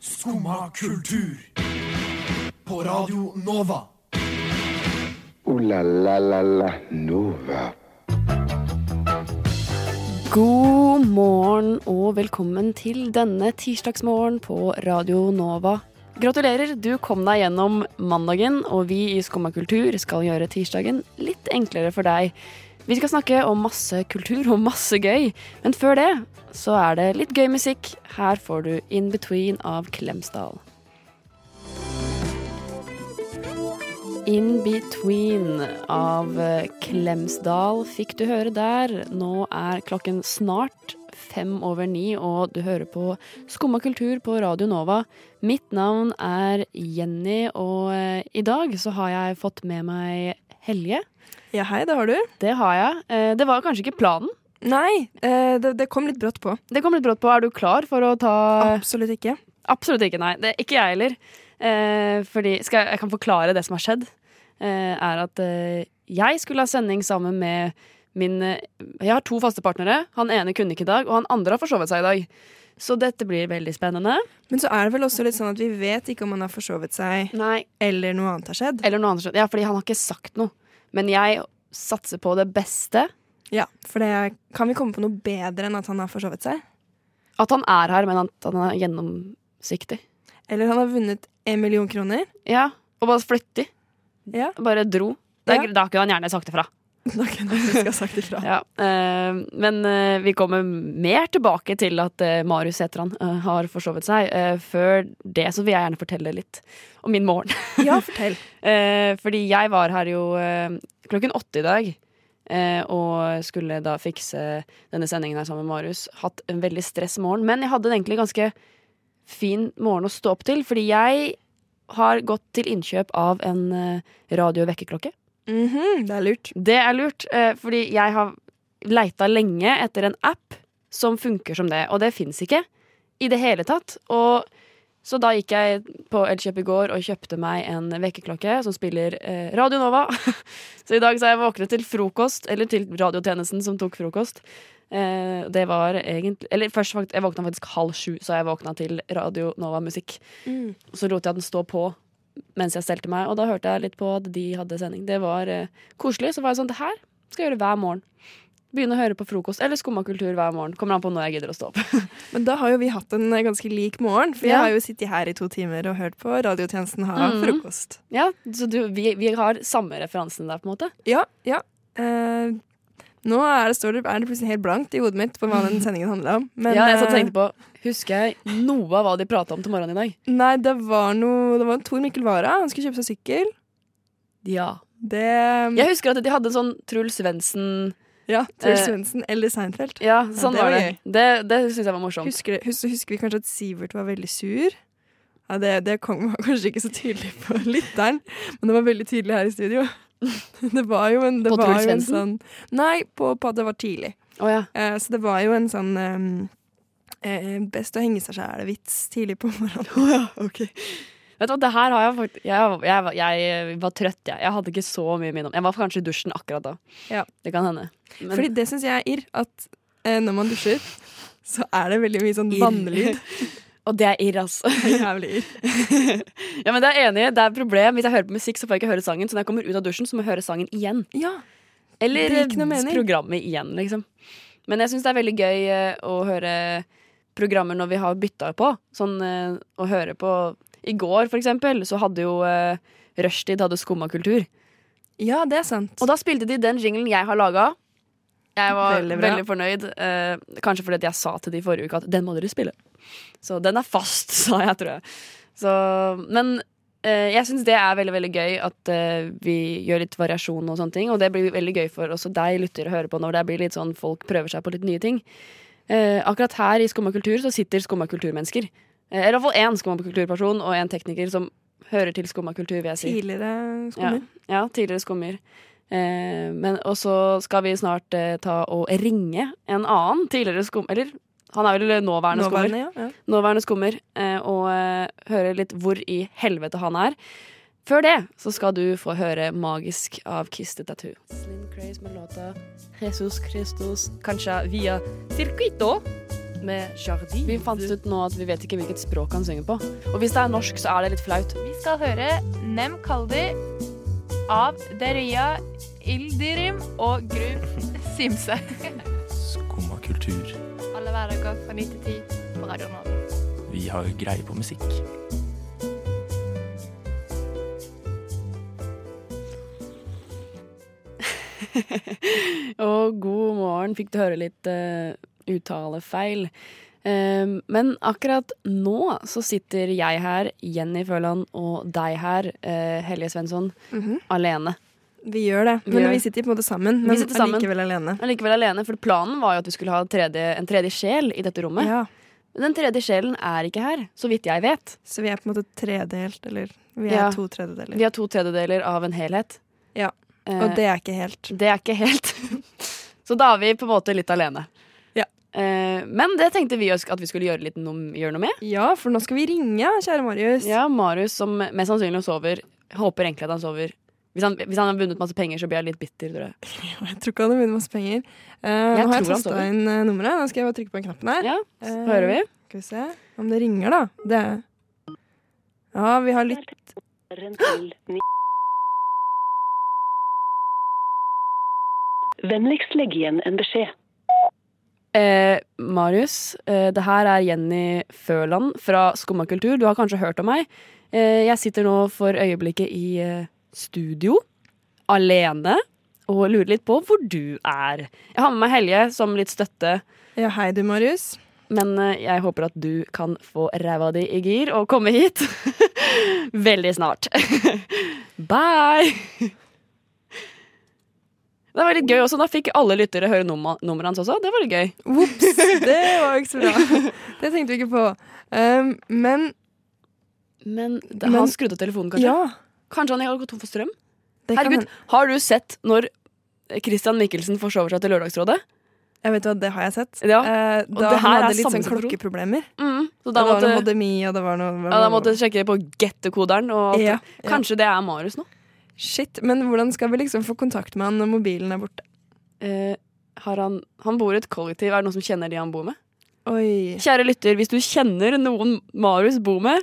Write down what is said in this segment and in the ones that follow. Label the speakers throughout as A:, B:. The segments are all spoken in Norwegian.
A: Skumma kultur. På Radio Nova.
B: Ooh la la la la Nova.
C: God morgen og velkommen til denne tirsdagsmorgen på Radio Nova. Gratulerer, du kom deg gjennom mandagen, og vi i Skumma kultur skal gjøre tirsdagen litt enklere for deg. Vi skal snakke om masse kultur og masse gøy, men før det så er det litt gøy musikk. Her får du In Between av Klemsdal. In Between av eh, Klemsdal fikk du høre der. Nå er klokken snart fem over ni, og du hører på Skumma kultur på Radio Nova. Mitt navn er Jenny, og eh, i dag så har jeg fått med meg Helje.
D: Ja, hei, det har du.
C: Det har jeg. Eh, Det var kanskje ikke planen.
D: Nei, eh, det, det kom litt brått på.
C: Det kom litt brått på. Er du klar for å ta
D: Absolutt ikke.
C: Absolutt ikke, nei. Det, ikke jeg heller. Eh, fordi skal, jeg- Jeg kan forklare det som har skjedd. Eh, er at eh, jeg skulle ha sending sammen med min eh, Jeg har to faste partnere. Han ene kunne ikke i dag, og han andre har forsovet seg i dag. Så dette blir veldig spennende.
D: Men så er det vel også litt sånn at vi vet ikke om han har forsovet seg,
C: Nei.
D: eller noe annet har skjedd.
C: Eller noe annet. skjønt. Ja, fordi han har ikke sagt noe. Men jeg satser på det beste.
D: Ja, For det, kan vi komme på noe bedre enn at han har forsovet seg?
C: At han er her, men at han er gjennomsiktig.
D: Eller han har vunnet en million kroner?
C: Ja. Og bare flyttig.
D: Ja.
C: Bare dro. Det, er-
D: Ja.
C: Da kunne han gjerne sagt ifra.
D: Da kunne vi skal ha sagt ifra.
C: Ja, eh, men eh, vi kommer mer tilbake til at eh, Marius heter han, eh, har forsovet seg. Eh, før det så vil jeg gjerne fortelle litt om min morgen.
D: Ja, fortell.
C: Eh, fordi jeg var her jo eh, klokken åtte i dag. eh, og skulle da fikse denne sendingen her sammen med Marius. Hatt en veldig stress morgen. Men jeg hadde en egentlig ganske fin morgen å stå opp til, fordi jeg har gått til innkjøp av en eh, radio-vekkerklokke.
D: Mhm, det er lurt.
C: Det er lurt, eh, fordi jeg har leita lenge etter en app som funker som det, og det fins ikke i det hele tatt. Og så da gikk jeg på Elkjøp i går og kjøpte meg en vekkerklokke som spiller eh, Radio Nova. så i dag så har jeg våknet til frokost, eller til radiotjenesten som tok frokost. Eh, det var egentlig Eller først fakt- jeg våkna faktisk halv sju, så jeg våkna til Radio Nova-musikk.
D: Mm.
C: Så lot jeg den stå på mens jeg stelte meg, og da hørte jeg litt på at de hadde sending. Det var eh, koselig. Så var jeg sånn, det her skal jeg gjøre hver morgen. Begynne å høre på frokost eller skumma kultur hver morgen. Kommer an på når jeg gidder å stå opp.
D: Men da har jo vi hatt en eh, ganske lik morgen, for
C: Ja.
D: jeg har jo sittet her i to timer og hørt på radiotjenesten ha
C: Mhm.
D: frokost.
C: ja, så du, vi, vi har samme referansen der, på en måte.
D: Ja, ja. Eh, nå er det, står det, er det plutselig helt blankt i hodet mitt på hva den sendingen handla om. Men,
C: ja, jeg satt og
D: eh,
C: tenkte på Husker jeg noe av hva de prata om til morgenen i dag?
D: eh, Nei, det var noe Det var Tor Mikkel Wara. Han skulle kjøpe seg sykkel.
C: Ja.
D: Det
C: Jeg husker at de hadde en sånn Truls Svendsen
D: Ja, Truls
C: Eh,
D: Svendsen eller Seinfeld.
C: Ja, sånn
D: det var
C: var det. Det, det syns jeg var morsomt.
D: Husker, det- husker, husker vi kanskje at Sivert var veldig sur? Ja, Det, det kom var kanskje ikke så tydelig på lytteren, men det var veldig tydelig her i studio. Det var jo en, det
C: På
D: var
C: Truls
D: jo en sånn
C: Svendsen?
D: Nei, på, på at det var tidlig.
C: Å ja.
D: Eh, så det var jo en sånn eh, eh, Best å henge seg sjæl-vits tidlig på morgenen.
C: Vet du hva, det her har jeg faktisk jeg, jeg, var- jeg var trøtt, jeg. Jeg hadde ikke så mye minne om Jeg var kanskje i dusjen akkurat da.
D: Ja.
C: Det kan hende. Men-
D: Fordi det syns jeg er irr, at eh, når man dusjer, så er det veldig mye sånn
C: Irr.
D: vannlyd.
C: og det er irr, altså.
D: Det er Jævlig irr.
C: ja, men det er jeg enig i. Det er et problem. Hvis jeg hører på musikk, så får jeg ikke høre sangen. Så når jeg kommer ut av dusjen, så må jeg høre sangen igjen.
D: Ja.
C: Eller
D: Det gir ikke noe mening.
C: programmet igjen, liksom. Men jeg syns det er veldig gøy eh, å høre programmer når vi har bytta på. Sånn eh, å høre på I går, for eksempel, så hadde jo eh, Rushtid hadde skumma kultur.
D: ja, det er sant.
C: Og da spilte de den jinglen jeg har laga. Jeg var
D: Veldig
C: veldig,
D: bra.
C: fornøyd. eh, kanskje fordi at jeg sa til de forrige uke at den må dere spille. Så den er fast, sa jeg, tror jeg. Så, men eh, jeg syns det er veldig veldig gøy at eh, vi gjør litt variasjon og sånne ting. Og det blir veldig gøy for også deg lytter å høre på når det blir litt sånn folk prøver seg på litt nye ting. Eh, akkurat her i Skumma kultur så sitter skumma kulturmennesker. Eh, eller i hvert fall én skumma kulturperson og én tekniker som hører til skumma kultur, vil jeg si.
D: Tidligere skummer.
C: Ja, tidligere skummer. Eh, men, og så skal vi snart eh, ta og ringe en annen tidligere skum... Eller han er vel nåværende skummer.
D: Nåværende, ja. ja.
C: Nåværende skummer. Eh, og eh, høre litt hvor i helvete han er. Før det så skal du få høre 'Magisk' av Kiss the Tattoo. Slim Craze med låta 'Jesus Christus Cancha Via Circuito'. med Jardin. Vi fant ut nå at vi vet ikke hvilket språk han synger på. Og hvis det er norsk, så er det litt flaut.
E: Vi skal høre Nem Kaldi av Deria Ildirim og Grum Simse.
F: Skumma kultur.
E: Alle hverdager fra 9 til 10 på Radio Nova.
F: Vi har greie på musikk.
C: Og god morgen fikk du høre litt eh, uttalefeil. Eh, men akkurat nå så sitter jeg her, Jenny Føland, og deg her, eh, Helge Svensson,
D: Mhm.
C: alene.
D: Vi gjør det.
C: Vi
D: Men
C: gjør
D: vi
C: det.
D: sitter på en måte sammen,
C: Vi
D: men
C: sitter sammen.
D: allikevel alene.
C: Allikevel alene, for planen var jo at vi skulle ha tredje, en tredje sjel i dette rommet.
D: Ja,
C: Men den tredje sjelen er ikke her, så vidt jeg vet.
D: så vi er på en måte tredelt, eller vi er
C: Ja.
D: to tredjedeler.
C: Vi har to tredjedeler av en helhet.
D: Ja,
C: Eh,
D: Og det er ikke helt.
C: Det er ikke helt. Så da er vi på en måte litt alene.
D: Ja.
C: Eh, men det tenkte vi også at vi skulle gjøre, litt noe, gjøre noe med.
D: Ja, for nå skal vi ringe, kjære Marius.
C: Ja, Marius som mest sannsynlig sover. Håper egentlig at han sover. Hvis han, hvis han har vunnet masse penger, så blir jeg litt bitter, tror jeg.
D: Jeg tror ikke han har vunnet masse penger. Eh,
C: Jeg
D: nå har
C: tror han
D: jeg tasta
C: sover.
D: inn eh, nummeret. Nå skal jeg bare trykke på den knappen her.
C: Ja,
D: Eh,
C: hører vi?
D: Skal vi se om det ringer, da. Det Ja, vi har lytt
G: Vennligst legg igjen en beskjed.
C: Eh, Marius, eh, det her er Jenny Føland fra Skumma kultur. Du har kanskje hørt om meg. Eh, jeg sitter nå for øyeblikket i eh, studio, alene, og lurer litt på hvor du er. Jeg har med meg Helje som litt støtte.
D: Ja, hei du, Marius.
C: Men eh, jeg håper at du kan få ræva di i gir og komme hit veldig snart. Bye! Det var litt gøy også. Da fikk alle lyttere høre nummer- nummeret hans også. Det var litt gøy.
D: Ops! Det var ikke så bra. Det tenkte vi ikke på. Um, men
C: Men, det,
D: Men-
C: han skrudde av telefonen, kanskje?
D: ja.
C: Kanskje han har gått tom for strøm?
D: Det kan
C: Herregud,
D: hende.
C: har du sett når Christian Michelsen forsover seg til Lørdagsrådet?
D: Jeg vet hva, det har jeg sett.
C: Ja,
D: Eh,
C: og
D: da
C: det her
D: han
C: er
D: hadde litt
C: samme
D: sånn
C: situasjon.
D: klokkeproblemer.
C: Mm. Så da
D: Da det var noe
C: måtte,
D: HDMI, og det var noe
C: ja, da måtte jeg sjekke på gettekoderen. Og
D: Ja,
C: alt.
D: ja.
C: Kanskje det er Marius nå?
D: Shit, men hvordan skal vi liksom få kontakt med han når mobilen er borte?
C: Eh, har han, han bor i et kollektiv. Er det noen som kjenner de han bor med?
D: Oi.
C: Kjære lytter, hvis du kjenner noen Marius bor med,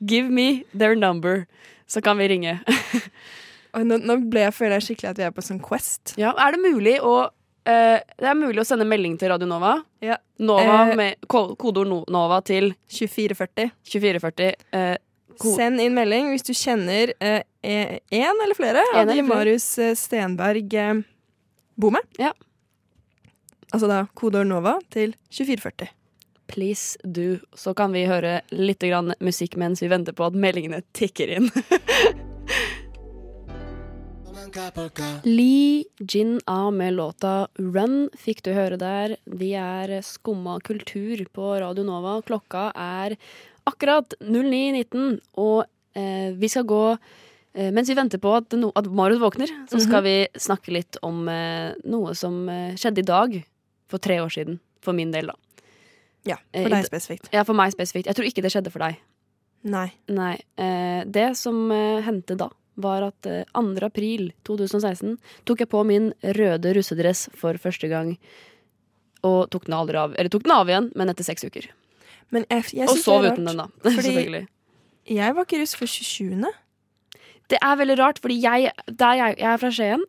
C: give me their number, så kan vi ringe.
D: Oi, nå, nå ble jeg, føler jeg skikkelig at vi er på sånn quest.
C: Ja, er det mulig å eh, Det er mulig å sende melding til Radio Nova.
D: Ja.
C: Nova
D: Eh.
C: med ko- kodeord no- Nova til
D: 2440.
C: 2440. eh, Ko-
D: Send inn melding hvis du kjenner én eller flere
C: En
D: av de
C: eller flere.
D: Marius eh, Stenberg eh, bor med.
C: Ja.
D: Altså da kodeord NOVA til 2440.
C: please do. Så kan vi høre litt grann musikk mens vi venter på at meldingene tikker inn. Lee Jin A med låta Run fikk du høre der. Vi er Skumma kultur på Radio Nova. Klokka er akkurat 09.19, og eh, vi skal gå eh, mens vi venter på at, no, at Marius våkner, så skal vi snakke litt om eh, noe som eh, skjedde i dag for tre år siden. For min del, da.
D: Ja,
C: Eh,
D: for
C: i
D: deg
C: d-
D: spesifikt.
C: Ja, for meg spesifikt. Jeg tror ikke det skjedde for deg.
D: Nei.
C: Nei. Eh, det som eh, hendte da, var at eh, 2. april 2016 tok jeg på min røde russedress for første gang. Og tok den aldri av. Eller tok den av igjen, men etter seks uker.
D: Men jeg, jeg
C: Og
D: synes det er
C: sov
D: rart.
C: uten den, da.
D: fordi-
C: Selvfølgelig.
D: Jeg var ikke russ for 27.
C: Det er veldig rart, fordi jeg, der jeg, jeg er fra Skien,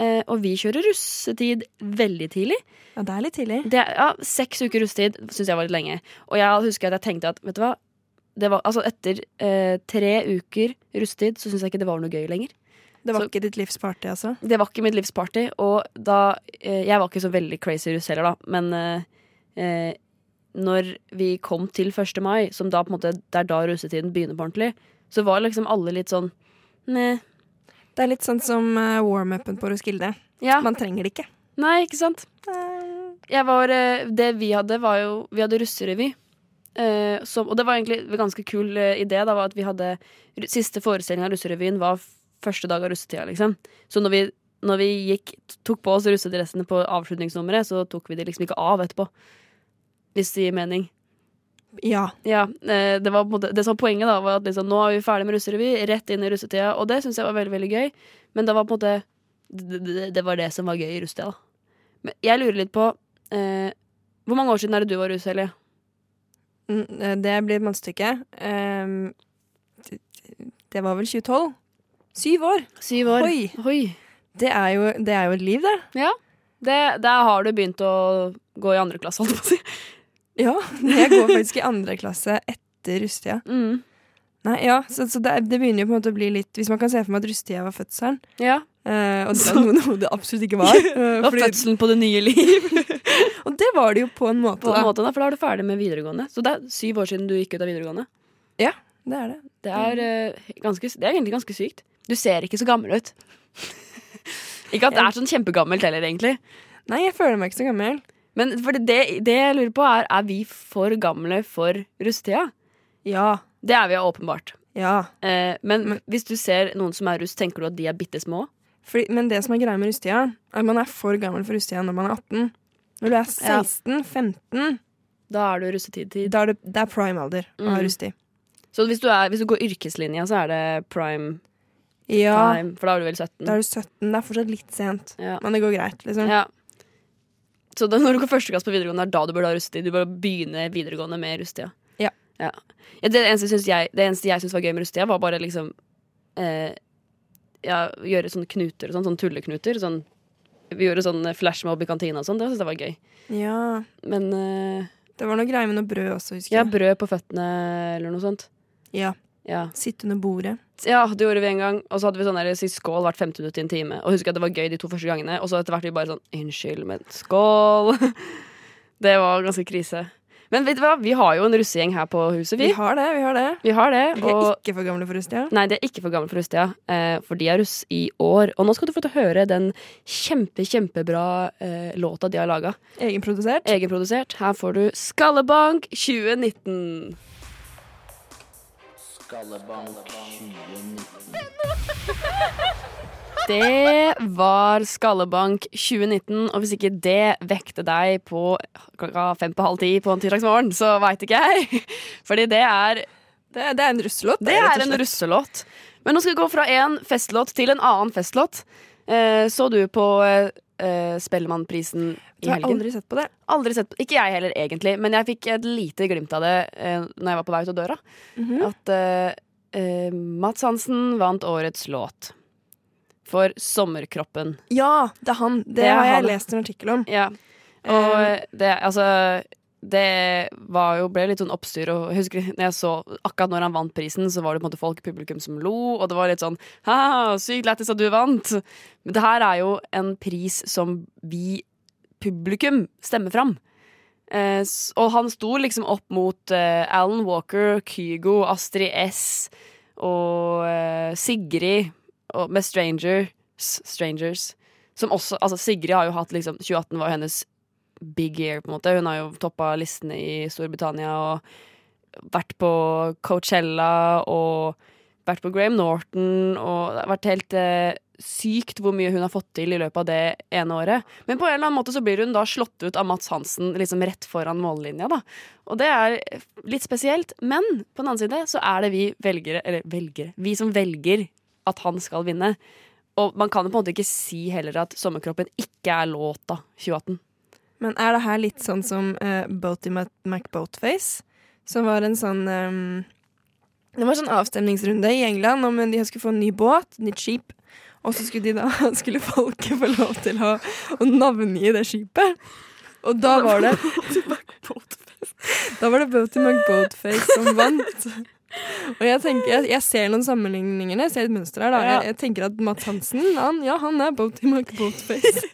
C: eh, og vi kjører russetid veldig tidlig.
D: Ja, det er litt tidlig.
C: Det, ja, seks uker russetid syns jeg var litt lenge. Og jeg husker at jeg tenkte at vet du hva det var, altså Etter eh, tre uker russetid så syns jeg ikke det var noe gøy lenger.
D: Det var
C: Så-
D: ikke ditt livs party, altså.
C: Det var ikke mitt livs party, og da eh, Jeg var ikke så veldig crazy russ heller, da, men eh, eh, når vi kom til 1. mai, som da på en måte det er da russetiden begynner på ordentlig, så var liksom alle litt sånn Nei.
D: Det er litt sånn som eh, warm-upen på Roskilde.
C: Ja.
D: Man trenger det ikke.
C: Nei, ikke sant? Jeg var, eh, det vi hadde, var jo Vi hadde russerevy. Eh, som, og det var egentlig en ganske kul eh, idé. Da, var at vi hadde, ru- siste forestilling av russerevyen var f- første dag av russetida. Liksom. Så når vi, når vi gikk, t- tok på oss russedressene på avslutningsnummeret, så tok vi de liksom ikke av etterpå. Hvis det gir mening.
D: Ja.
C: Ja, eh, det, var på en måte, det som var poenget da var at liksom, nå er vi ferdig med russerevy, rett inn i russetida. Og det syns jeg var veldig veldig gøy. Men det var på en måte det, det, det var det som var gøy i russetida. da. Men jeg lurer litt på eh, Hvor mange år siden er det du var russ, Helje?
D: Mm, eh, Det blir et mannestykke. Ehm, det- det var vel 2012? Syv år!
C: Syv år.
D: Oi!
C: Oi.
D: Det er jo, det er jo et liv, det.
C: Ja. Det, der har du begynt å gå i andre klasse, holdt jeg på å si.
D: Ja, Jeg går faktisk i andre klasse etter russetida.
C: Mm.
D: Nei, ja, så, så det, er- det begynner jo på en måte å bli litt Hvis man kan se for meg at russetida var fødselen,
C: Ja.
D: eh, og det var noe, noe det absolutt ikke var. eh,
C: Og
D: fordi,
C: fødselen på det nye liv.
D: og det var det jo på en måte,
C: På en
D: da.
C: måte, da, for da er du ferdig med videregående. Så det er syv år siden du gikk ut av videregående.
D: Det er det.
C: Det er,
D: Mm.
C: eh, ganske, det er egentlig ganske sykt. Du ser ikke så gammel ut. ikke at det er sånn kjempegammelt heller, egentlig.
D: Nei, jeg føler meg ikke så gammel.
C: Men for det, det jeg lurer på, er er vi for gamle for russetida.
D: Ja.
C: Det er vi jo åpenbart.
D: Ja.
C: Eh, men hvis du ser noen som er russ, tenker du at de er bitte små?
D: Fordi, men det som er greia med russetida, er at man er for gammel for russetida når man er 18. Når du er 16-15,
C: Da er du russetid til
D: da er det, det er prime alder å ha
C: Mm.
D: russetid.
C: Så hvis du, er, hvis du går yrkeslinja, så er det prime
D: Ja,
C: time, for da er du vel 17?
D: da er du 17. Det er fortsatt litt sent,
C: Ja.
D: men det går greit, liksom.
C: ja. Så da, når du går første klasse på videregående, er da du burde ha russetid? Du bør begynne videregående med russetida?
D: Ja.
C: Ja, det eneste jeg syns jeg- det eneste jeg syntes var gøy med russetida, var bare liksom eh, ja, Gjøre sånne knuter og sånn, sånne tulleknuter. Sånn, vi gjorde sånn flashmob i kantina og sånn. Det syntes jeg var gøy.
D: Ja.
C: Men eh,
D: Det var noe greier med noe brød også, husker
C: ja,
D: jeg.
C: brød på føttene eller noe sånt.
D: Ja.
C: Ja.
D: Sitte under bordet.
C: Ja, det gjorde vi en gang. Og så hadde vi sånn der, si skål hvert femte minutt i en time. Og husker at det var gøy de to første gangene. Og så etter hvert vi bare sånn unnskyld, men skål. Det var ganske krise. Men vet du hva, vi har jo en russegjeng her på huset,
D: Vi
C: vi.
D: har det, vi har det.
C: Vi har det.
D: Vi er
C: Og
D: ikke for gamle for russetida.
C: Nei, de er ikke for gamle for russetida, eh, for de er russ i år. Og nå skal du få til å høre den kjempe, kjempebra eh, låta de har laga.
D: Egenprodusert.
C: Eh, Egenprodusert. Her får du Skallebank 2019. Det var Skallebank 2019, og hvis ikke det vekte deg på klokka fem på halv ti på en tirsdagsmorgen, så veit ikke jeg. Fordi det er,
D: Det, det er en russelåt.
C: det er en russelåt. Men nå skal vi gå fra en festlåt til en annen festlåt. Eh, så du på eh, eh, Spellemannprisen i
D: Jeg har
C: helgen?
D: aldri sett på det.
C: Aldri sett på, Ikke jeg heller, egentlig, men jeg fikk et lite glimt av det eh, Når jeg var på vei ut av døra. At eh, eh, Mats Hansen vant årets låt for 'Sommerkroppen'.
D: Ja, det er han. Det,
C: Det er
D: har jeg
C: han.
D: lest en artikkel om.
C: Ja. Og eh, det, altså det var jo, ble litt sånn oppstyr. Og jeg husker når jeg så Akkurat når han vant prisen, så var det på en måte folk i publikum som lo, og det var litt sånn «Haha, Sykt lættis at du vant! Men det her er jo en pris som vi, publikum, stemmer fram. Eh, s- og han sto liksom opp mot eh, Alan Walker, Kygo, Astrid S og eh, Sigrid og, med Strangers, Strangers. Som også, altså Sigrid har jo hatt liksom 2018 var jo hennes big year, på en måte. Hun har jo toppa listene i Storbritannia og vært på Coachella og vært på Graham Norton og det har vært helt eh, sykt hvor mye hun har fått til i løpet av det ene året. Men på en eller annen måte så blir hun da slått ut av Mats Hansen liksom rett foran mållinja, da. Og det er litt spesielt, men på den annen side så er det vi velgere, eller velgere, vi som velger at han skal vinne. Og man kan jo på en måte ikke si heller at Sommerkroppen ikke er låta 2018.
D: Men er det her litt sånn som uh, Boaty Mac- McBoatface? Som var en sånn ehm, Det var en sånn avstemningsrunde i England om eh, de skulle få en ny båt, nytt skip. Og så skulle, de da, skulle folket få lov til å, å navngi det skipet. Og da var det Da var det Boaty McBoatface som vant. Og jeg, tenker, jeg, jeg ser noen sammenligninger. Jeg ser et mønster her. Da.
C: Ja.
D: Jeg, jeg tenker at Matt Hansen, han, ja, han er Boaty McBoatface.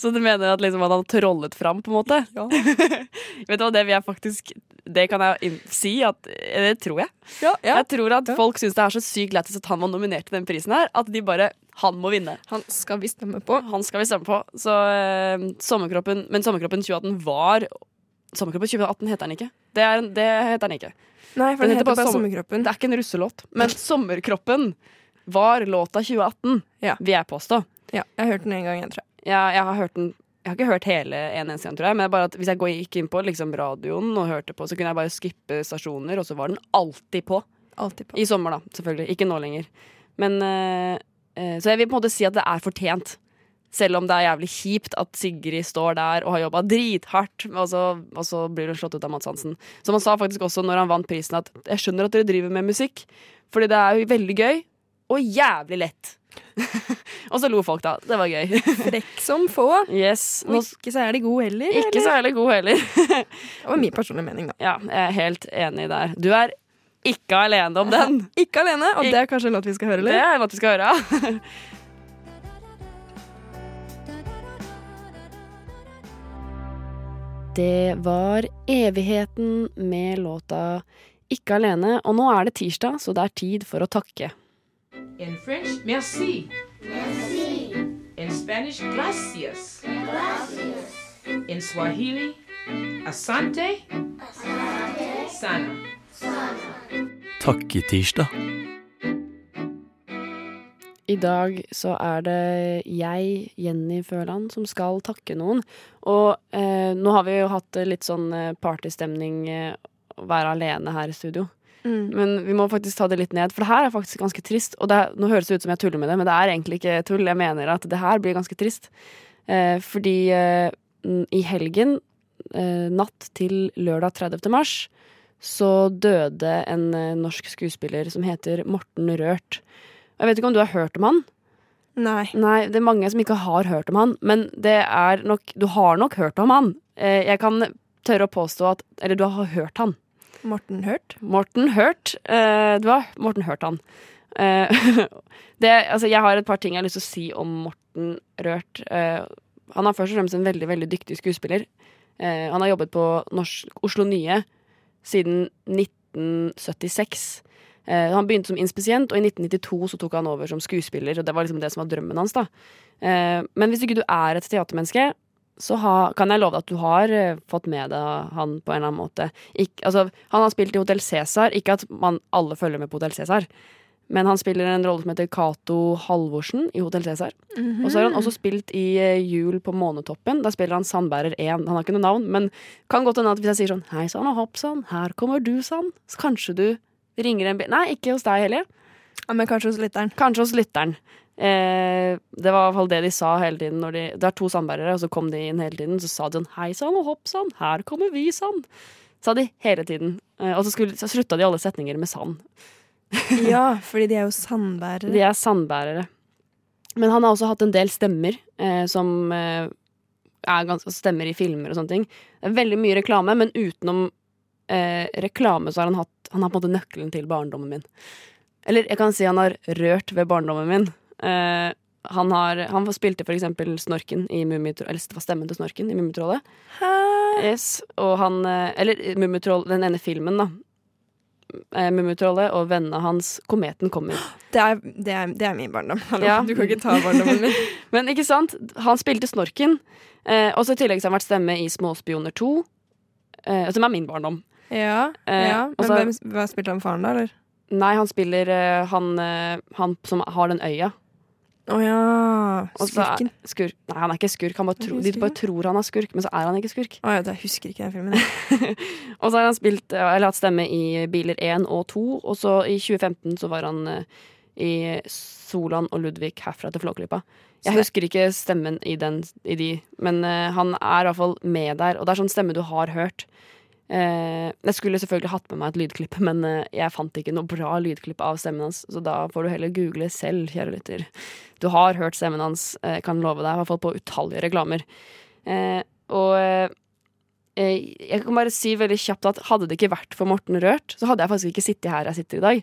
C: Så du mener at liksom han har trollet fram, på en måte?
D: Ja.
C: Vet du hva, det vil jeg faktisk Det kan jeg inn- si at eh, Det tror jeg.
D: Ja, ja.
C: Jeg tror at
D: Ja.
C: folk syns det er så sykt lættis at han var nominert til den prisen her, at de bare Han må vinne.
D: Han skal vi stemme på.
C: Han skal vi stemme på. Så eh, Sommerkroppen Men Sommerkroppen 2018 var Sommerkroppen 2018 heter den ikke. Det, er, en- det heter den ikke.
D: Nei, for
C: Den heter
D: den heter
C: bare
D: bare
C: sommer-
D: Sommerkroppen.
C: Det er ikke en russelåt. Men Sommerkroppen var låta 2018,
D: Ja.
C: vil jeg påstå.
D: Ja, jeg har hørt den en gang, jeg tror jeg.
C: Jeg, jeg har hørt den jeg har ikke hørt hele en eneste gang, tror jeg, men bare at hvis jeg går- gikk inn på liksom, radioen og hørte på, så kunne jeg bare skippe stasjoner, og så var den alltid på.
D: Alltid på.
C: I sommer, da, selvfølgelig. Ikke nå lenger. Men eh, eh, Så jeg vil på en måte si at det er fortjent. Selv om det er jævlig kjipt at Sigrid står der og har jobba drithardt, og så, og så blir hun slått ut av Mads Hansen. Som han sa faktisk også når han vant prisen, at 'jeg skjønner at dere driver med musikk', fordi det er jo veldig gøy, og jævlig lett. og så lo folk, da. Det var gøy.
D: Frekk som få.
C: yes.
D: Og
C: Nå,
D: ikke så er de gode heller.
C: ikke
D: eller?
C: særlig god heller.
D: Det var min personlige mening, da.
C: Ja, jeg er helt enig der. Du er ikke alene om den.
D: Ikke alene, og
C: Ik-
D: det er kanskje en låt vi skal høre,
C: Det
D: eller?
C: er hva du skal høre. Det var evigheten med låta Ikke alene, og nå er det tirsdag, så det er tid for å takke.
G: In French, merci. Merci. In Spanish, gracias. Gracias. In Swahili, asante. Asante. Sana.
F: Takketirsdag.
C: I dag så er det jeg, Jenny Føland, som skal takke noen. Og eh, nå har vi jo hatt eh, litt sånn eh, partystemning eh, å være alene her i studio.
D: Mm.
C: Men vi må faktisk ta det litt ned, for det her er faktisk ganske trist. Og det, er- nå høres det ut som jeg tuller med det, men det er egentlig ikke tull. Jeg mener at det her blir ganske trist. Eh, fordi eh, n- i helgen, eh, natt til lørdag 30. mars, så døde en eh, norsk skuespiller som heter Morten Rørt. Jeg vet ikke om du har hørt om han?
D: Nei.
C: Nei, det er mange som ikke har hørt om han, men det er nok Du har nok hørt om han. Eh, jeg kan tørre å påstå at Eller du har hørt han.
D: Morten Hørt.
C: Morten Hørt. eh, du har Morten hørt han. Eh, det, altså, jeg har et par ting jeg har lyst til å si om Morten Rørt. Eh, han er først og fremst en veldig veldig dyktig skuespiller. Eh, han har jobbet på Norsk, Oslo Nye siden 1976. Eh, han begynte som inspisient, og i 1992 så tok han over som skuespiller. Og det var liksom det som var drømmen hans. da. Eh, men hvis ikke du er et teatermenneske, så ha, kan jeg love deg at du har eh, fått med deg han på en eller annen måte. Ikk- altså, han har spilt i Hotell Cæsar. Ikke at man alle følger med på Hotell Cæsar, men han spiller en rolle som heter Cato Halvorsen i Hotell Cæsar. Og så har han også spilt i eh, Jul på månetoppen. Da spiller han Sandbærer 1. Han har ikke noe navn, men kan godt hende at hvis jeg sier sånn Hei sann og hopp sann, her kommer du sann, så kanskje du ringer en bil Nei, ikke hos deg heller.
D: Ja, men kanskje hos lytteren.
C: Kanskje hos lytteren. Eh, det var i hvert fall det de sa hele tiden. Når de, det er to sandbærere, og så kom de inn hele tiden. Så sa de sånn hei sann og hopp sann, her kommer vi sann. Sa de hele tiden. Eh, og så, skulle, så slutta de alle setninger med sann.
D: Ja, fordi de er jo sandbærere.
C: De er sandbærere. Men han har også hatt en del stemmer eh, som eh, er gans- stemmer i filmer og sånne ting. Det er veldig mye reklame, men utenom eh, reklame så har han hatt Han har på en måte nøkkelen til barndommen min. Eller jeg kan si han har rørt ved barndommen min. Eh, han, har, han spilte for eksempel Snorken i Mummitro... Eller det var stemmen til Snorken i Mummitrollet.
D: Hæ?
C: Yes, og han eh, Eller Mummitroll, den ene filmen, da. Eh, Mummitrollet og vennene hans. Kometen kommer.
D: Det er, det, er, det er min barndom. Hallo.
C: Ja.
D: Du kan ikke ta barndommen min.
C: Men ikke sant? Han spilte Snorken. Eh, og så i tillegg så har han vært stemme i Småspioner 2, eh, som er min barndom.
D: ja, altså-
C: Eh,
D: ja.
C: og
D: Men
C: så-
D: hvem, hvem spilte han faren, da? eller?
C: Nei, han spiller eh, han, eh, han som har den øya.
D: Å ja.
C: Og så er-
D: Skurken.
C: Skurk. Nei, han er ikke skurk. Han bare
D: Er
C: tro,
D: han
C: de bare
D: skurk?
C: tror han er skurk, men så er han ikke skurk.
D: Å ja, jeg husker ikke den filmen. jeg.
C: Og så har han spilt, eh, eller hatt stemme i Biler 1 og 2, og så i 2015 så var han eh, i Solan og Ludvig herfra til Flåklypa. Jeg
D: Så-
C: husker ikke stemmen i, den, i de, men eh, han er iallfall med der, og det er sånn stemme du har hørt. Eh, jeg skulle selvfølgelig hatt med meg et lydklipp, men eh, jeg fant ikke noe bra lydklipp av stemmen hans, så da får du heller google selv, kjære lytter. Du har hørt stemmen hans, eh, kan love deg, i hvert fall på utallige reklamer. Eh, og eh, Eh, jeg kan bare si veldig kjapt at hadde det ikke vært for Morten Rørt, så hadde jeg faktisk ikke sittet her jeg sitter i dag.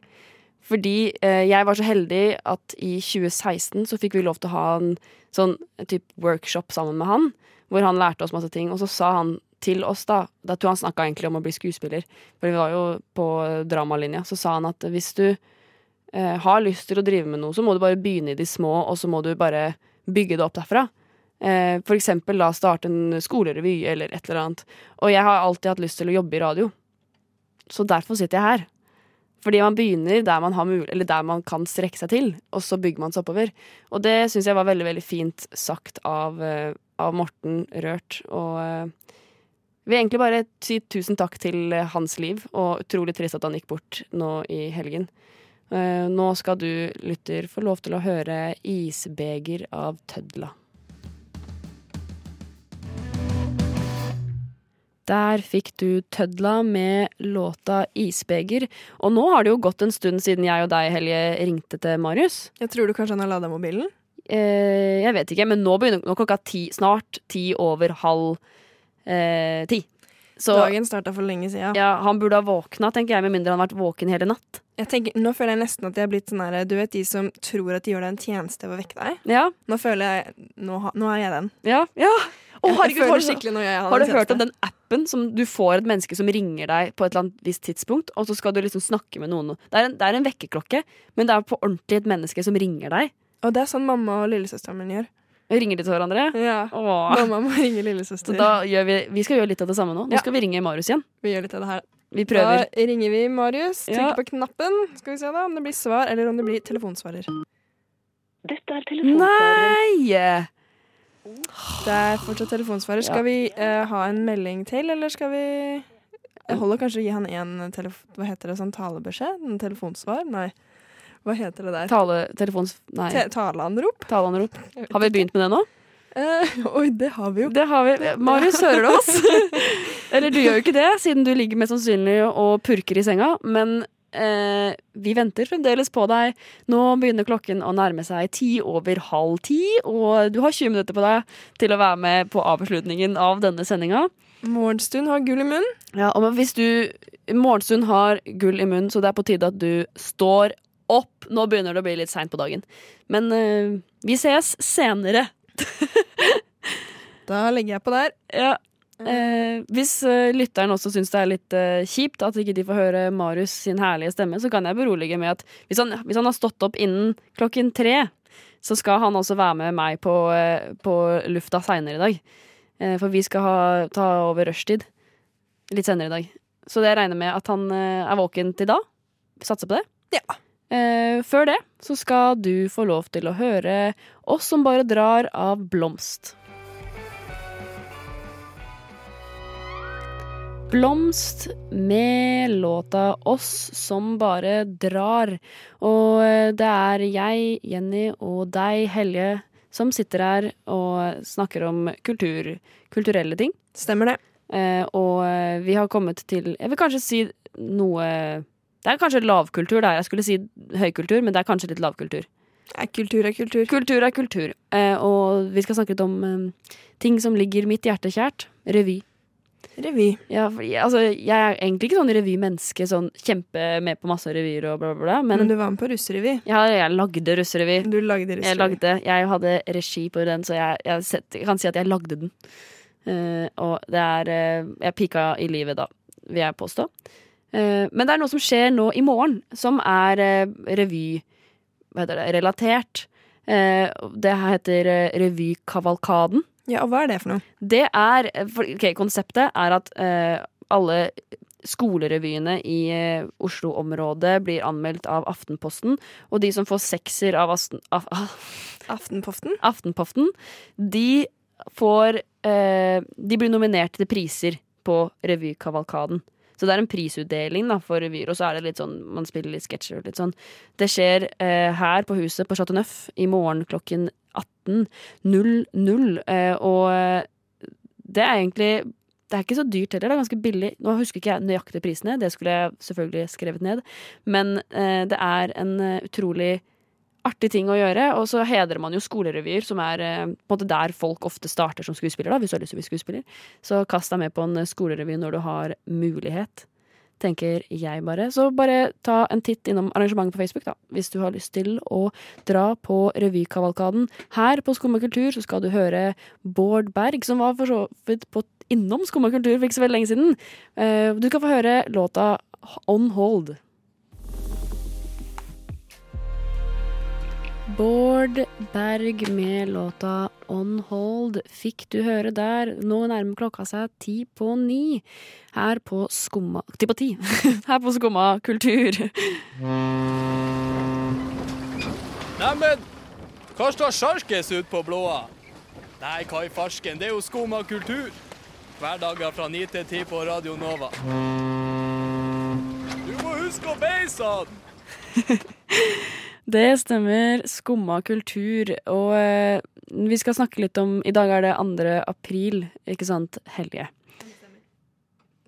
C: Fordi eh, jeg var så heldig at i 2016 så fikk vi lov til å ha en sånn typ workshop sammen med han, hvor han lærte oss masse ting, og så sa han til oss da, da tror jeg han snakka egentlig om å bli skuespiller, for vi var jo på eh, dramalinja, så sa han at hvis du eh, har lyst til å drive med noe, så må du bare begynne i de små, og så må du bare bygge det opp derfra. Eh, for eksempel la starte en skolerevy eller et eller annet. Og jeg har alltid hatt lyst til å jobbe i radio. Så derfor sitter jeg her. Fordi man begynner der man, har mul eller der man kan strekke seg til, og så bygger man seg oppover. Og det syns jeg var veldig veldig fint sagt av, eh, av Morten Rørt. Og eh, vil egentlig bare si tusen takk til eh, hans liv, og utrolig trist at han gikk bort nå i helgen. Eh, nå skal du, lytter, få lov til å høre 'Isbeger' av Tødla. Der fikk du Tødla med låta 'Isbeger'. Og nå har det jo gått en stund siden jeg og deg, Helje, ringte til Marius.
D: Jeg tror du kanskje han har lada mobilen?
C: Eh, jeg vet ikke, men nå begynner nå er klokka ti, snart ti over halv eh, ti. Så
D: Dagen starta for lenge siden.
C: ja, han burde ha våkna, tenker jeg, med mindre han har vært våken hele natt.
D: Jeg tenker, nå føler jeg nesten at jeg er blitt sånn her Du vet de som tror at de gjør deg en tjeneste ved å vekke deg?
C: Ja,
D: Nå føler jeg Nå, ha, nå er jeg den.
C: ja, ja. Å,
D: Jeg-
C: herregud,
D: jeg
C: har
D: føler
C: du så-
D: skikkelig nå gjør jeg han
C: Har du
D: en
C: hørt om
D: tjeneste.
C: den appen som du får et menneske som ringer deg på et eller annet visst tidspunkt, og så skal du liksom snakke med noen? Det er en, det er en vekkerklokke, men det er på ordentlig et menneske som ringer deg.
D: Og det er sånn mamma og lillesøsteren min gjør.
C: Ringer de til hverandre?
D: Ja.
C: Åh.
D: Mamma må ringe
C: Så
D: lillesøster.
C: da gjør vi, vi skal gjøre litt av det samme nå. Nå
D: Ja.
C: skal vi ringe Marius igjen.
D: vi gjør litt av det her.
C: Vi prøver.
D: Da ringer vi Marius. Trykker
C: Ja.
D: på knappen. Skal vi se da om det blir svar, eller om det blir telefonsvarer.
C: Nei!
D: Det er fortsatt telefonsvarer. Skal vi eh, ha en melding til, eller skal vi Det holder kanskje å gi han en telef... Hva heter det? Sånn talebeskjed? En telefonsvar? Nei. Hva heter det der?
C: Tale, telefons... Nei.
D: Te taleanrop?
C: Taleanrop. Har vi begynt med det nå?
D: Eh, oi, det har vi jo.
C: Det har vi. Marius, hører du oss? Eller du gjør jo ikke det, siden du ligger mest sannsynlig og purker i senga. Men eh, vi venter fremdeles på deg. Nå begynner klokken å nærme seg ti over halv ti, og du har 20 minutter på deg til å være med på avslutningen av denne sendinga.
D: Morgenstund har gull i munnen.
C: Ja, og men hvis du Morgenstund har gull i munnen, så det er på tide at du står opp. Nå begynner det å bli litt seint på dagen. Men eh, vi ses senere.
D: Da legger jeg på der.
C: Ja. Eh, hvis eh, lytteren også syns det er litt eh, kjipt at ikke de får høre Marius sin herlige stemme, så kan jeg berolige med at hvis han, hvis han har stått opp innen klokken tre, så skal han også være med meg på, eh, på lufta seinere i dag. Eh, for vi skal ha, ta over rushtid litt senere i dag. Så det jeg regner med at han eh, er våken til da. Vi satser på det.
D: Ja.
C: Eh, før det så skal du få lov til å høre Oss som bare drar av Blomst. Blomst med låta Oss som bare drar. Og eh, det er jeg, Jenny, og deg, Helje, som sitter her og snakker om kultur, kulturelle ting.
D: Stemmer det.
C: Eh, og eh, vi har kommet til Jeg vil kanskje si noe Det er kanskje lavkultur der. Jeg skulle si høykultur, men det er kanskje litt lavkultur.
D: Ja, kultur er kultur.
C: Kultur er kultur, eh, og vi skal snakke litt om eh, ting som ligger mitt hjerte kjært. Revy.
D: Revy.
C: Ja, for, jeg- altså, jeg er egentlig ikke sånn revymenneske, sånn kjempe med på masse revyer og bla, bla, bla, men,
D: Men, du var med på russerevy.
C: jeg, har- jeg lagde russerevy.
D: Du lagde russerevy.
C: Jeg lagde, jeg hadde regi på den, så jeg, jeg, sett, jeg kan si at jeg lagde den. Eh, og det er eh, Jeg pika i livet da, vil jeg påstå. Eh, men det er noe som skjer nå i morgen, som er eh, revy... Hva heter det? Relatert. Eh, det her heter eh, Revykavalkaden.
D: Ja, og hva er det for noe?
C: Det er for, ok, Konseptet er at eh, alle skolerevyene i eh, Oslo-området blir anmeldt av Aftenposten. Og de som får sekser av, Asten, av, av
D: Aftenpoften?
C: Aftenposten, de får eh, De blir nominert til priser på revykavalkaden. Så det er en prisutdeling da, for revyer, og så er det litt sånn, man spiller litt sketsjer og litt sånn. Det skjer eh, her på huset på Chateau Neuf i morgen klokken 18.00. Eh, og eh, det er egentlig Det er ikke så dyrt heller, det er ganske billig. Nå husker ikke jeg nøyaktig prisene, det skulle jeg selvfølgelig skrevet ned. Men eh, det er en eh, utrolig artig ting å gjøre. Og så hedrer man jo skolerevyer, som er eh, på en måte der folk ofte starter som skuespiller. da, hvis du har lyst til å bli skuespiller. Så kast deg med på en eh, skolerevy når du har mulighet, tenker jeg bare. Så bare ta en titt innom arrangementet på Facebook da, hvis du har lyst til å dra på revykavalkaden. Her på Skumma kultur så skal du høre Bård Berg, som var for så vidt på innom Skumma kultur for ikke så veldig lenge siden. Eh, Du kan få høre låta On Hold. Bård Berg med låta On Hold fikk du høre der. Nå nærmer klokka seg ti på ni. Her på Skumma Ti på ti! Her på Skumma kultur.
H: Neimen, hva står sjarkes ut på blåa? Nei, hva i farsken, det er jo skum av kultur. Hverdager fra 9 til 10 på Radio Nova. Du må huske å beise han!
C: Det stemmer. Skumma kultur. Og eh, vi skal snakke litt om I dag er det 2. april, ikke sant, Helje?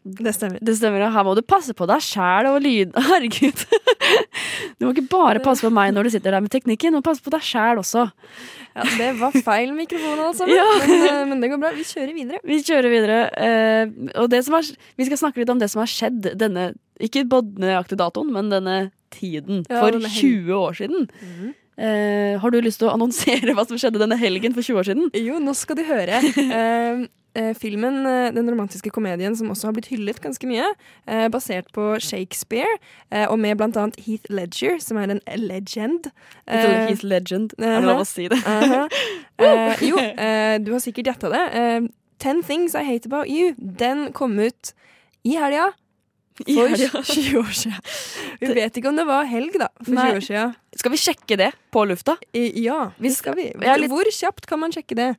D: Det stemmer.
C: Det stemmer, og her må du passe på deg sjæl og lyd... Herregud. Du må ikke bare passe på meg når du sitter der med teknikken, men passe på deg sjæl også.
D: Ja, det var feil mikrofon, altså.
C: Ja.
D: Men, eh, men det går bra. Vi kjører videre.
C: Vi kjører videre. eh, og det som er, vi skal snakke litt om det som har skjedd denne Ikke både nøyaktig datoen, men denne tiden.
D: Ja,
C: for
D: denne helgen. Mhm.
C: 20 år siden. Eh, har du lyst til å annonsere hva som skjedde denne helgen for 20 år siden?
D: Jo, nå skal du høre. Eh, eh, filmen, eh, den romantiske komedien som også har blitt hyllet ganske mye, eh, basert på Shakespeare, eh, og med blant annet Heath Ledger, som er en legend. Eh,
C: He's legend. Er det lov å si det?
D: aha. Eh, jo, eh, du har sikkert gjetta det. Eh, Ten Things I Hate About You, den kom ut i helga.
C: I
D: For
C: helga.
D: 20 år siden. Vi vet ikke om det var helg, da. For
C: Nei.
D: 20 år siden.
C: Skal vi sjekke det på lufta?
D: I- Ja, det skal vi.
C: jeg er litt-
D: Hvor kjapt kan man sjekke det?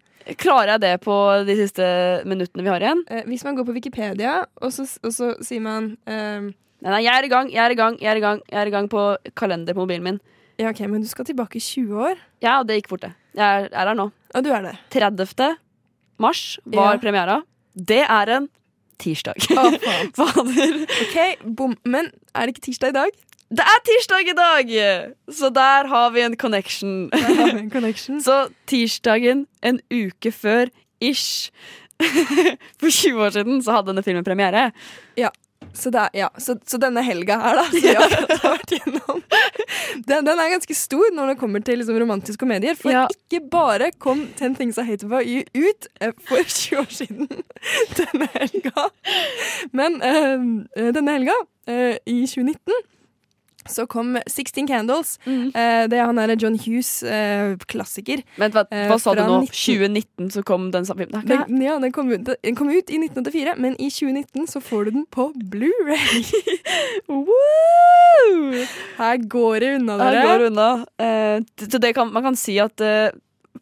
C: Klarer jeg det på de siste minuttene vi har igjen?
D: Eh, hvis man går på Wikipedia, og så, og så sier man ehm,
C: Nei, nei, jeg er i gang, jeg er i gang, jeg er i gang Jeg er i gang på kalender på mobilen min.
D: Ja, OK, men du skal tilbake 20 år.
C: Ja, det gikk fort, det. Jeg er, er her nå.
D: Og du er det.
C: 30. mars var
D: Ja.
C: premiera. Det er en tirsdag. Fader.
D: OK, bom. Men er det ikke tirsdag i dag?
C: Det er tirsdag i dag! Så der har vi en connection.
D: Der har vi en connection.
C: Så tirsdagen en uke før ish For 20 år siden så hadde denne filmen premiere.
D: Så, det er, ja, så, så denne helga her, da, som vi akkurat har vært gjennom, den, den er ganske stor når det kommer til liksom, romantiske komedier. For
C: Ja.
D: ikke bare kom Ten Things I Hate About You ut eh, for 20 år siden denne helga, men eh, denne helga, eh, i 2019 så kom 16 Candles. Eh, det er han derre John Hughes' eh, klassiker.
C: Men hva,
D: Eh,
C: hva sa du
D: fra
C: nå?
D: 19.
C: 2019 så kom den samme filmen. Det er ikke
D: Den, ja, den, kom ut, den kom ut i 1984, men i 2019 så får du den på Blu-ray. Woo! Her går det unna,
C: Her
D: dere.
C: går det unna. Eh, t- så det kan, man kan si at eh,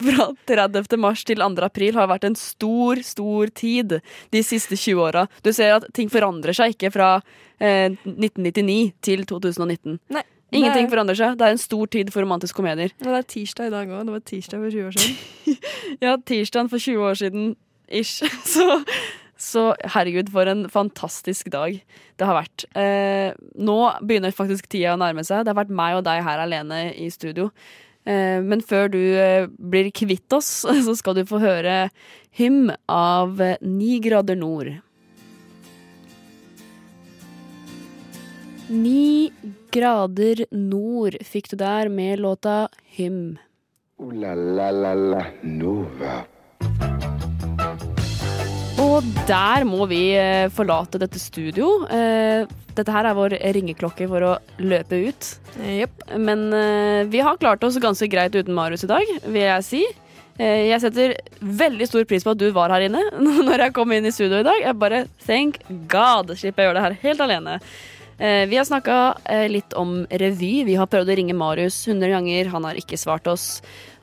C: fra 30. mars til 2. april har vært en stor, stor tid de siste 20 åra. Du ser at ting forandrer seg ikke fra eh, 1999 til 2019.
D: Nei,
C: Ingenting
D: det er-
C: forandrer seg. Det er en stor tid for romantiske komedier.
D: Men det er tirsdag i dag òg. Det var tirsdag for 20 år siden.
C: Ja, tirsdagen for 20 år siden ish. Så, så herregud, for en fantastisk dag det har vært. Eh, nå begynner faktisk tida å nærme seg. Det har vært meg og deg her alene i studio. Eh, men før du eh, blir kvitt oss, så skal du få høre hymn av eh, Ni grader nord. Ni grader nord fikk du der med låta Hymn.
B: Ooh la la la la Nova.
C: Og der må vi eh, forlate dette studio. Eh, Dette her er vår ringeklokke for å løpe ut.
D: Jepp.
C: Men eh, vi har klart oss ganske greit uten Marius i dag, vil jeg si. Eh, Jeg setter veldig stor pris på at du var her inne når jeg kom inn i studio i dag. Jeg bare thank god slipper jeg å gjøre det her helt alene. Eh, Vi har snakka litt om revy. Vi har prøvd å ringe Marius 100 ganger. Han har ikke svart oss.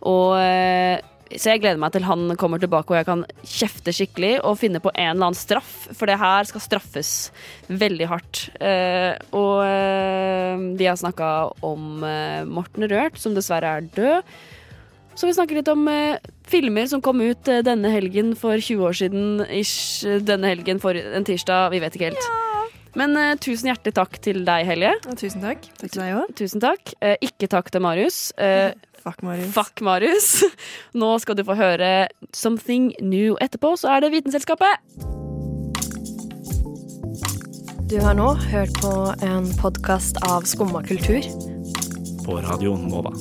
C: Og eh, så jeg gleder meg til han kommer tilbake og jeg kan kjefte skikkelig og finne på en eller annen straff, for det her skal straffes veldig hardt. Eh, og eh, vi har snakka om eh, Morten Rørt, som dessverre er død. Så vi snakker litt om eh, filmer som kom ut eh, denne helgen for 20 år siden. Ish, eh, denne helgen for en tirsdag, vi vet ikke helt. Men eh, tusen hjertelig takk til deg, Helje.
D: Ja, tusen takk. Takk til deg òg.
C: Tusen takk. Eh, ikke takk til Marius. Eh,
D: Fuck Marius.
C: Fuck Marius. Nå skal du få høre Something New etterpå, så er det Vitenselskapet.
I: Du har nå hørt på en podkast av Skumma kultur.
F: På Radio Nova.